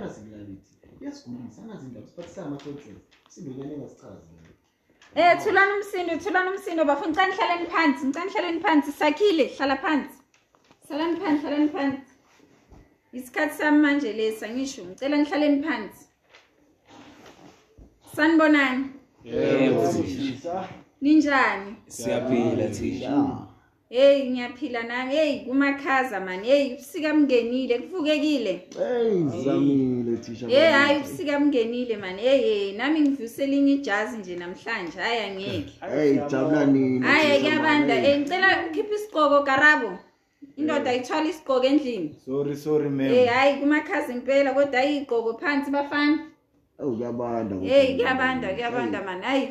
iyanazingilalithi iyasigulisa anazindaba siphathisa ama-consens sindokunyane engasichazini Eh thulani umsindo thulani umsindo bafuna ngicane hlaleni phansi ngicane hlaleni phansi sakhile hlala phansi hlalani phansi hlalani phansi isikhathi sami manje lesi angisho ngicela ngihlaleni phansi sanibonani Yebo, ninjani siyaphila thisha heyi ngiyaphila nami heyi kumakhaza mani heyi ubusika mngenile kuvukekile eyi zamile thisha heyi hhayi ubusika mngenile mani heyi heyi nami ngivuse elinye ijazi nje namhlanje hhayi angeke eyi jabula nina hhayi thisha kuyabanda man. um ngicela ukhiphe isigqoko garabo indoda ayithwala isigqoko endlini sorry sorry ma'am um hhayi kumakhazi impela kodwa hhayi iy'gqoko phansi bafana ewu kuyabanda heyi kuyabanda kuyabanda mani hhayi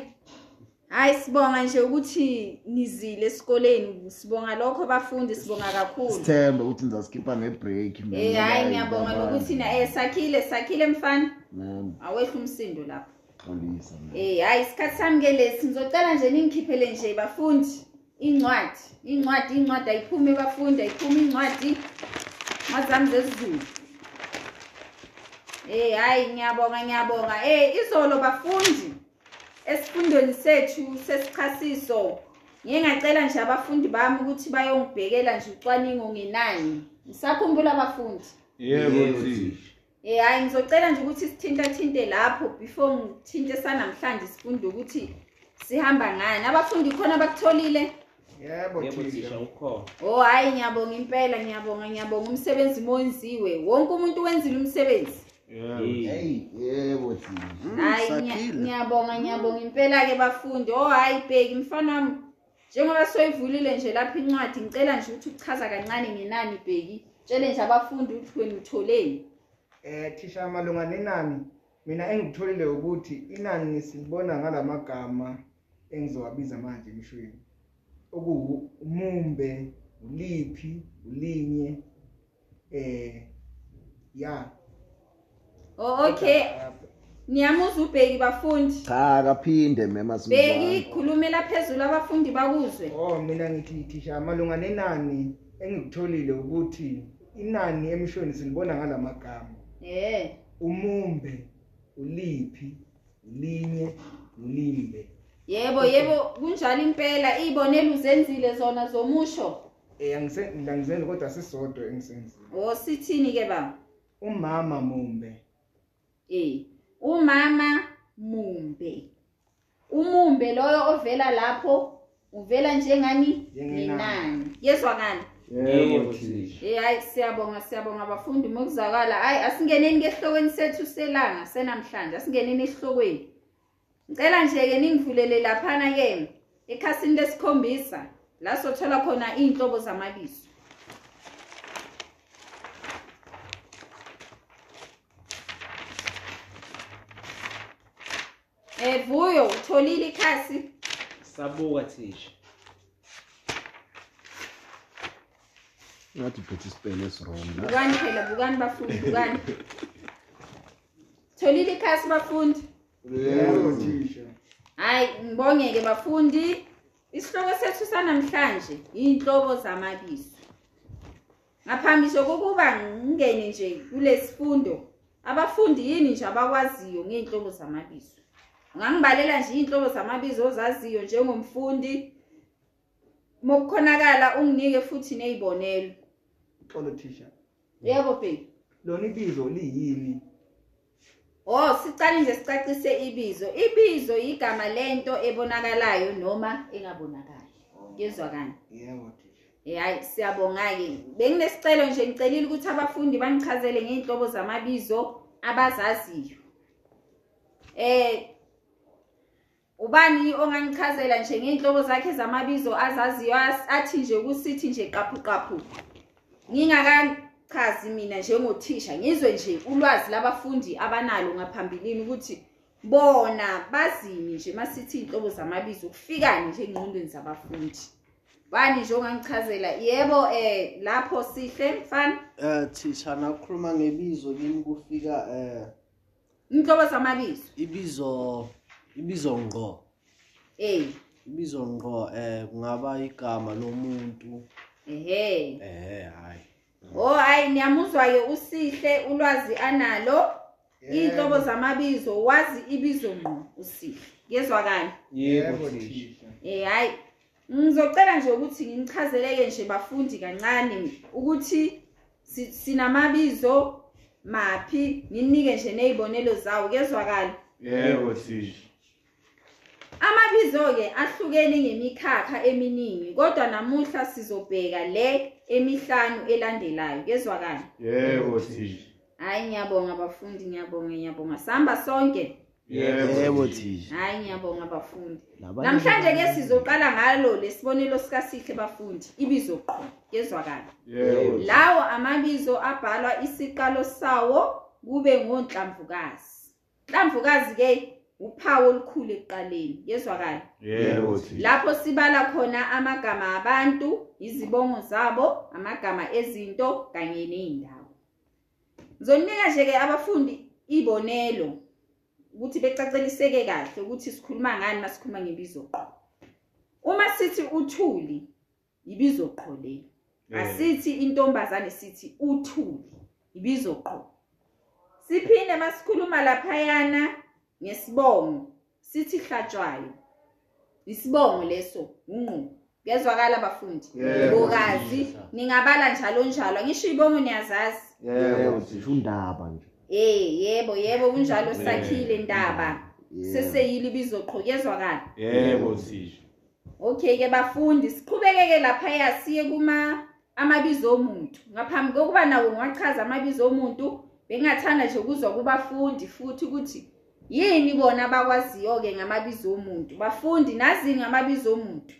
hhayi sibonga nje ukuthi nizile esikoleni sibonga lokho bafundi sibonga kakhulu sithemba ukuthi nizasikhipha ngebreak man. Eh hayi Hhayi, ngiyabonga kuyabanda. nokuthi na eh sakhile sakhile mfana Nami, awehla umsindo lapho. xolisa, man. Eh hayi isikhathi sami ke lesi ngizocela nje ningikhiphele nje bafundi incwadi incwadi incwadi ayiphumi bafundi ayiphumi incwadi incwadi zami zesizulu. Eh hayi ngiyabonga ngiyabonga eh izolo bafundi esifundweni sethu sesichasiso ngiyengacela nje abafundi bami ukuthi bayongibhekela nje ucwaningo ngenani. Ngisakhumbula abafundi. yebo thisha Eh hayi ngizocela nje ukuthi sithinta thinte lapho before ngithinte sanamhlanje sifunde ukuthi sihamba ngani. Abafundi khona bakutholile? yebo thisha ukhona Oh hayi ngiyabonga impela ngiyabonga ngiyabonga umsebenzi moyenziwe. Wonke umuntu wenzile umsebenzi. yebo Eyi, yebo thisha Mm, Hayi ngiya- sakhile. ngiyabonga ngiyabonga impela ke bafundi. Oh hayi bheki mfana wami. Njengoba soyivulile nje lapha incwadi ngicela nje ukuthi uchaza kancane ngenani bheki. Tshele nje abafundi ukuthi wena utholeni. Eh thisha malunga nenani mina engitholile ukuthi inani silibona ngalamagama engizowabiza manje emshweni. Oku umumbe, uliphi, ulinye eh ya. Oh okay. Niyamuza ubheki bafundi. cha kaphinde mema beki khulumela phezulu abafundi bakuzwe Oh mina ngithi thisha malunga nenani engikutholile ukuthi inani emshweni silibona ngalamagama. eh Umumbe, uliphi, ulinye, ulimbe. yebo yebo kunjalo impela iy'bonelo uzenzile zona zomusho Eh angise- ngilangizeni kodwa sisodwa engisenzile. o Oh, sithini ke baba Umama mumbe. eh umama mumbe umumbe loyo ovela lapho uvela njengani Njengenani. ngenani yezwakala yebo thisha Eh hayi siyabonga siyabonga bafundi mokuzwakala. Hayi asingeneni ngehlokweni sethu selanga senamhlanje. Asingeneni esihlokweni. Ngicela nje ke ningivulele laphana ke ekhasini lesikhombisa la sothola khona inhlobo zamabizo. Eh vuyo utholile ikhasi? sabuka thisha ngathi uphethe isipele esirona Bukani phela bukani bafundi bukani. Tholile ikhasi bafundi. Yebo thisha. Hayi ngibonge ke bafundi. Isihloko sethu sanamhlanje inhlobo zamabizo. Ngaphambiso kokuba ngingene nje kulesifundo, abafundi yini nje abakwaziyo ngeinhlobo zamabizo. Ungangibalela nje inhlobo zamabizo ozaziyo njengomfundi. Mokukhonakala unginike futhi nezibonelo. Xolo thisha. Yebo baby. Lona ibizo liyini? Oh sicale nje sicacise ibizo. Ibizo igama lento ebonakalayo noma engabonakali. Ngezwa kanje. Yebo thisha. Hayi siyabonga-ke. Benginesicelo nje ngicelile ukuthi abafundi bangichazele ngey'nhlobo zamabizo abazaziyo. Eh ubani ongangichazela nje ngey'nhlobo zakhe zamabizo azaziyo as- athi nje kusithi nje qaphuqaphu. Ngingakachazi mina njengothisha ngizwe nje ulwazi labafundi abanalo ngaphambilini ukuthi bona bazini nje masithi iy'nhlobo zamabizo kufikani nje engqondweni zabafundi. bani nje ongangichazela yebo eh lapho sihle mfana eh thisha nakhuluma ngebizo kimi kufika eh inhlobo zamabizo ibizo ibizo ngqo eh ibizo ngqo eh kungaba igama lomuntu ehe eh hayi o hhayi niyamuzwa-ke usihle ulwazi analo iy'nhlobo zamabizo wazi ibizo ngqo usihle yezwa kanye yebo thisha Eh hayi ngizocela nje ukuthi nginichazeleke nje bafundi kancane ukuthi si- sinamabizo maphi ninike nje nezibonelo zawo kezwakala Yebo thisha. Amabizo ke ahlukene ngemikhakha eminingi kodwa namuhla sizobheka le emihlanu elandelayo kezwakala Yebo thisha. Hayi ngiyabonga bafundi ngiyabonga ngiyabonga sihamba sonke Yebo thisha. hayi ngiyabonga bafundi Namhlanje ke sizoqala ngalo lesibonelo sika Sihle bafundi ibizo qho kezwakala Yebo. thisha. lawo amabizo abhalwa isiqalo sawo kube ngonhlamvukazi nhlamvukazi ke uphawu olukhulu ekuqaleni yezwakala Yebo thisha. lapho sibala khona amagama abantu izibongo zabo amagama ezinto kanye ney'ndawo ngizonika nje-ke abafundi ibonelo ukuthi becaceliseke kahle ukuthi sikhuluma ngani masikhuluma ngebizo qho uma sithi uthuli ibizo qho leli asithi intombazane sithi uthuli ibizo qho siphinde masikhuluma laphayana ngesibongo sithi hlatshwayo isibongo leso unqumo kuyezwakala bafundi Yebo. bokazi ningabala njalo njalo angisho iy'bongo niyazazi Yebo thisha. undaba nje Eh yebo yebo kunjalo Yebo. sakhile ndaba Yebo. seseyile ibizo qho kuyezwakala Yebo thisha. Okay ke bafundi siqhubekeke lapha siye kuma amabizo omuntu ngaphambi kokuba nawo ngiwachaza amabizo omuntu bengathanda nje ukuzwa kubafundi futhi ukuthi yini bona abakwaziyo ke ngamabizo omuntu bafundi nazi ngamabizo omuntu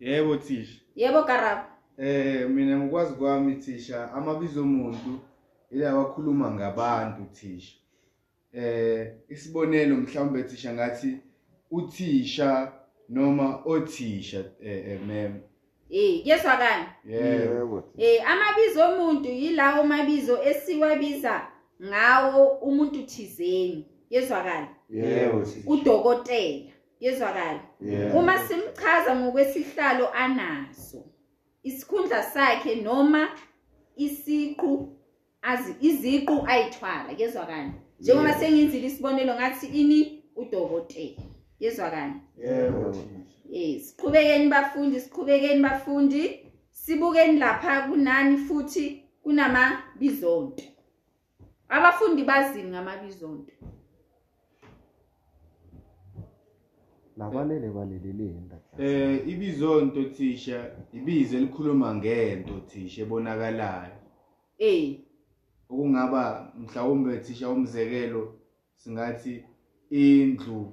Yebo thisha. yebo Karabo Eh mina ngikwazi kwami thisha amabizo omuntu ilawa akhuluma ngabantu thisha. Eh isibonelo mhlawumbe thisha ngathi uthisha noma othisha eh eh, mem. eh yezwa kani Yebo. Eh amabizo omuntu yilawo mabizo esiwabiza ngawo umuntu thizeni yezwakala Yebo thisha. udokotela yezwakala Eh. Yebo. uma simchaza ngokwesihlalo anaso isikhundla sakhe noma isiqu azi iziqu ayithwala kezwakani njengoba sengiyenzile isibonelo ngathi ini udokotela yezwakani Yebo thisha. eh siqhubekeni bafundi siqhubekeni bafundi sibukeni lapha kunani futhi kunamabizonto abafundi bazini ngamabizonto labalele baleleleni ndaba Eh ibizonto thisha ibizo elikhuluma ngento thisha ebonakalayo. eh okungaba mhlawumbe thisha umzekelo singathi indlu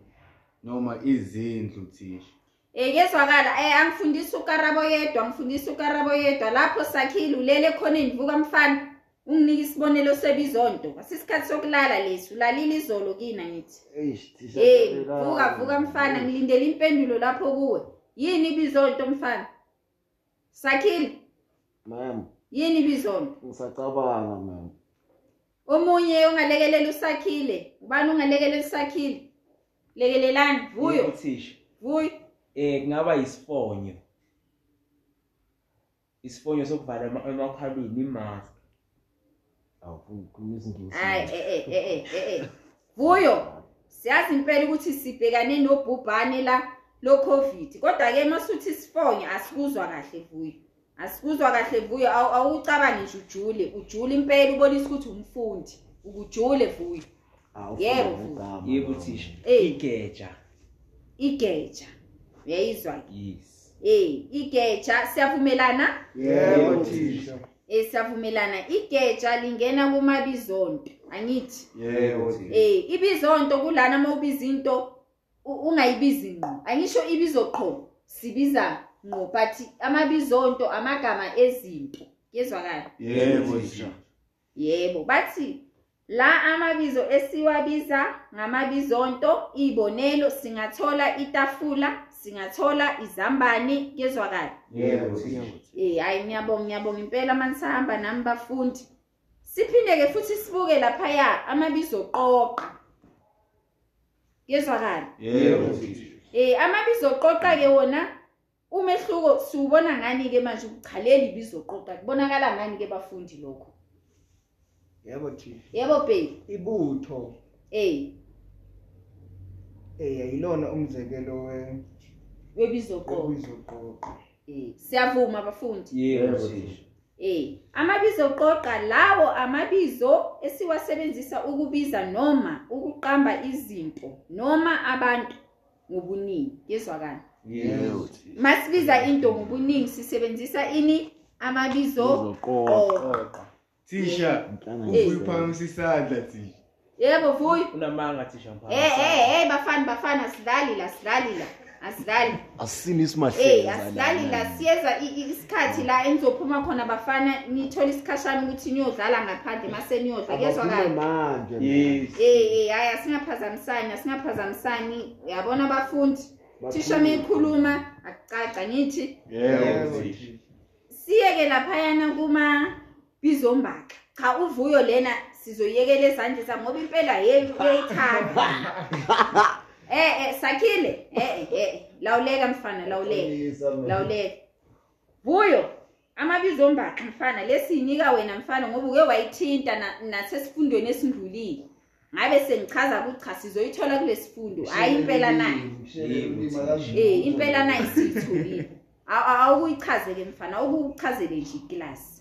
noma izindlu thisha Eh kezwakala eh angifundisa ukarabo yedwa ngifundisa ukarabo yedwa lapho sakhile ulele khona indivuka mfana unginike isibonelo sebizonto asisikhathi sokulala lesi ulalile izolo kina ngithi eh vuka vuka mfana ngilindele impendulo lapho kuwe yini ibizonto mfana sakhile mem yini ibizonto ngisacabanga mem omunye ongalekelela usakhile ubani ongalekelela usakhile lekelelani vuyo Yebo, thisha vuyo eh kungaba isifonyo isifonyo sokuvala ama- emakhaleni imask awufuni ukukhuluma izingisi hayi eh eh eh eh, eh eh vuyo siyazi impela ukuthi sibhekane nobhubhane la lo covid kodwa ke masuthi sifonye asikuzwa kahle vuyo asikuzwa kahle vuyo awu- awucabange nje ujule ujule impela ubonisa ukuthi umfundi ukujule vuyo Yebo, yebo thisha Eh. igeja igeja uyayizwa ke yes eh igeja siyavumelana yebo thisha eh siyavumelana igeja lingena kumabizonto angithi yebo Mm. thisha Eh ibizonto kulana mawubiza into u- ungayibizi ngqo. Angisho ibizo qho, sibiza ngqo but amabizonto amagama ezinto. Kezwakala? yebo thisha Yebo, bathi la amabizo esiwabiza ngamabizonto ibonelo singathola itafula, singathola izambane, kezwakala? yebo thisha Eh hayi ngiyabonga ngiyabonga impela manisahamba nami bafundi. Siphinde ke futhi sibuke lapha ya amabizo qoqa. Yezwakala. yebo thisha Eh amabizo qoqa ke E, wona um umehluko siwubona ngani-ke manje ukuchaleli ibizoqoqa kubonakala ngani-ke bafundi lokho yebo thisha yebo bheyi ibutho eyi eh ayilona umzekelo we- webizoqoqa webizoqoqo Eh, siyavuma bafundi yebo Yebo, thisha Eh, amabizo qoqa lawo amabizo esiwasebenzisa ukubiza noma ukuqamba izinto noma abantu ngobuningi. Yezwakani? yebo Masibiza into ngobuningi sisebenzisa ini? Amabizo Uzoqoqa. qoqa. thisha uyiphakamisa isandla thisha Yebo vuyo. unamanga thisha Eh eh eh bafana bafana asidlali la sidlali la. Asidlali. asisini Eh asidlali la siyeza i- i- isikhathi la enizophuma khona bafana nithola isikhashana ukuthi niyodlala ngaphandle mase niyodla. Yezwakani? manje Eh eh haya singaphazamisani asingaphazamisani yabona abafundi thisha meyikhuluma akucaca ngithi yebo thisha siyeke laphayana kuma bizombaka cha uvuyo lena sizoyekela ezandla ngoba impela yenu uyayithanda eh eh sakhile eh eh lawuleka mfana lawuleka lawuleka vuyo amabizo ombaxa mfana lesiyinika wena mfana ngoba uke wayithinta na- nasesifundweni esindlulile ngabe sengichaza ukuthi cha sizoyithola kulesi fundo hhayi impela nayo Eh impela na isitholile. Awuyichazeke mfana, ukuchazele nje ikilasi.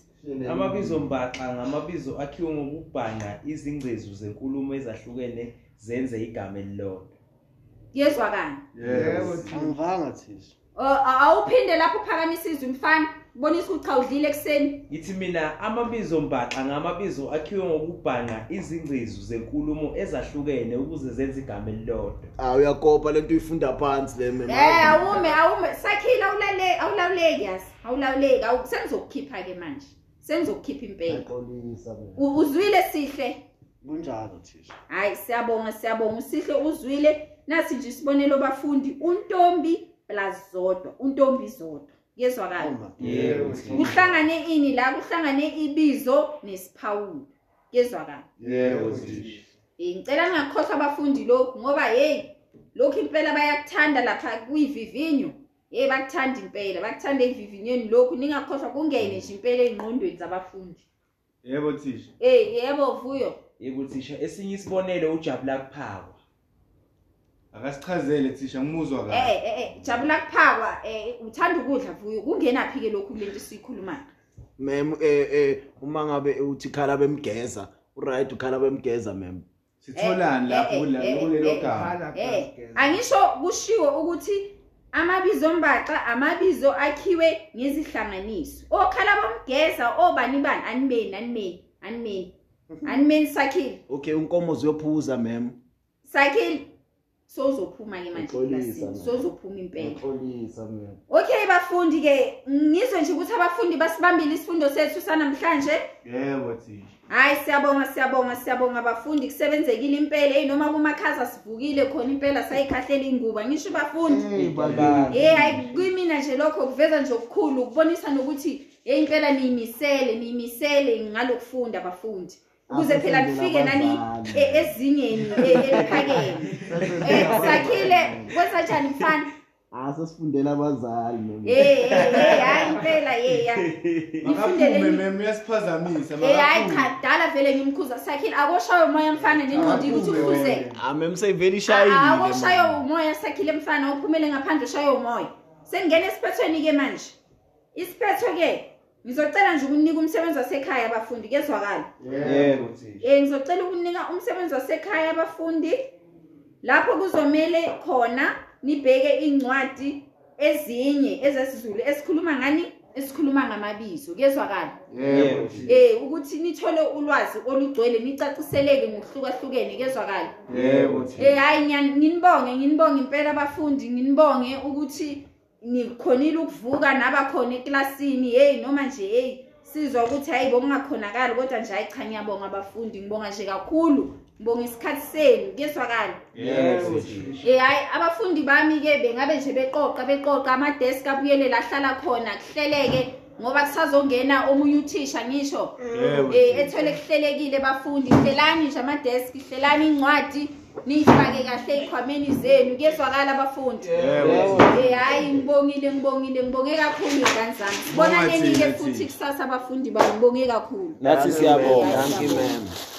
amabizo mbaxa ngamabizo akhiwe ngokubhanqa izingcezu zenkulumo ezahlukene zenze igama elilodwa Yezwa kani? yebo thisha angivanga thisha Awuphinde lapho uphakamisa izwi mfana, bonisa ukuthi cha udlile ekseni. ngithi mina amabizo mbaxa ngamabizo akhiwe ngokubhanqa izingcezu zenkulumo ezahlukene ukuze zenze igama elilodwa Ah uyakopa lento uyifunda phansi le mema. Eh awume awume sakhile awulale awulawuleki yazi. Awulawuleki awu sengizokukhipha ke manje. Sengizokukhipha impela. Yaxolisa mina. U- Uzwile sihle? kunjalo thisha Hayi siyabonga siyabonga usihle uzwile nasi nje isibonelo bafundi untombi plus zodwa untombi zodwa yezwa kani uma yebo thisha kuhlangane ini la kuhlangane ibizo nesiphawulo kezwakala yebo thisha Eh, ngicela ngakhohlwa abafundi lokhu ngoba hey lokhu impela bayakuthanda lapha kuyivivinyo hey bakuthanda impela bakuthanda evivinyweni lokhu ningakhohlwa kungene nje impela ey'nqondweni zabafundi yebo thisha eh yebo vuyo yebo thisha esinye isibonelo ujabula kuphakwa akasichazele thisha ngimuzwa kahle eh eh, eh jabula kuphakwa eh uthanda ukudla vuyo kungenaphi ke lokhu lento siyikhulumayo Mem eh eh uma ngabe uthi khala bemgeza, uright ukhala bemgeza mem. sitholani lapho eh, kula- eh, eh, kulelo gama khala Eh, kageza angisho kushiwo ukuthi amabizo mbaxa amabizo akhiwe ngezihlanganiso okhala bomgeza obani bani animeni animeni animeni animeni sakhile Okay unkomo uzophuza mem. sakhile sozophuma ke manje Uxolisa, ekilasini, mama. sozophuma impela Yaxolisa mina. okay bafundi ke ngizwe nje ukuthi abafundi basibambile isifundo sethu sanamhlanje yebo thisha hayi siyabonga siyabonga siyabonga bafundi kusebenzekile impela eyi noma kumakhaza sivukile khona impela sayikhahlela inguba ngisho bafundi hey hayi kimina nje lokho kuveza nje okukhulu ukubonisa nokuthi hey impela niyimisele niyimisele ngalokufunda bafundi ukuze phela nifike nani Abazali. e- ezingeni e- eliphakeme Eh, sakhile kwesanjani mfana Asesifundela abazali mem. hey hey hey hayi impela hey ya nifundele makaphume ni- mem uyasiphazamisa hey Eh, hayi makaphume. cha dala vele ngimkhuza sakhile akoshayo umoya mfana nenqondile ukuthi Makaphume ukhuzeke wena. Ah mem seveli Awu shayile. shayo umoya sakhile mfana uphumele ngaphandle ushayo umoya. Sengena isiphethweni ke manje. Isiphetho ke ngizocela nje ukunika umsebenzi wasekhaya abafundi kezwakala. yebo thisha Eh ngizocela ukunika umsebenzi wasekhaya abafundi lapho kuzomele khona nibheke incwadi ezinye ezesizulu esikhuluma ngani? Esikhuluma ngamabizo kezwakala. yebo thisha Eh ukuthi nithole ulwazi olugcwele nicaciseleke ngokuhlukahlukene kezwakala. yebo thisha Eh hayi nyani nginibonge nginibonge impela abafundi nginibonge ukuthi nikhonile ukuvuka nabakhona eklasini hey noma nje hey sizwa ukuthi hayi bokungakhonakali kodwa nje hayi cha ngiyabonga abafundi ngibonga nje kakhulu ngibonga isikhathi senu kuyezwakala yebo thisha Eh hayi abafundi bami ke bengabe nje beqoqa beqoqa amadesk abuyele lahlala khona kuhleleke ngoba kusazongena omunye uthisha ngisho yebo eh ethole kuhlelekile bafundi hlelani nje amadesk hlelani incwadi niyifake kahle ey'khwameni zenu kuyezwakala abafundi Yebo. Eh, hhayi ngibongile ngibongile ngibonge kakhulu iy'ngane zami Ngibonga thina, sibonaneni-ke thina. futhi kusasa abafundi bami ngibonge kakhulu nathi siyabonga Thank you, ma'am.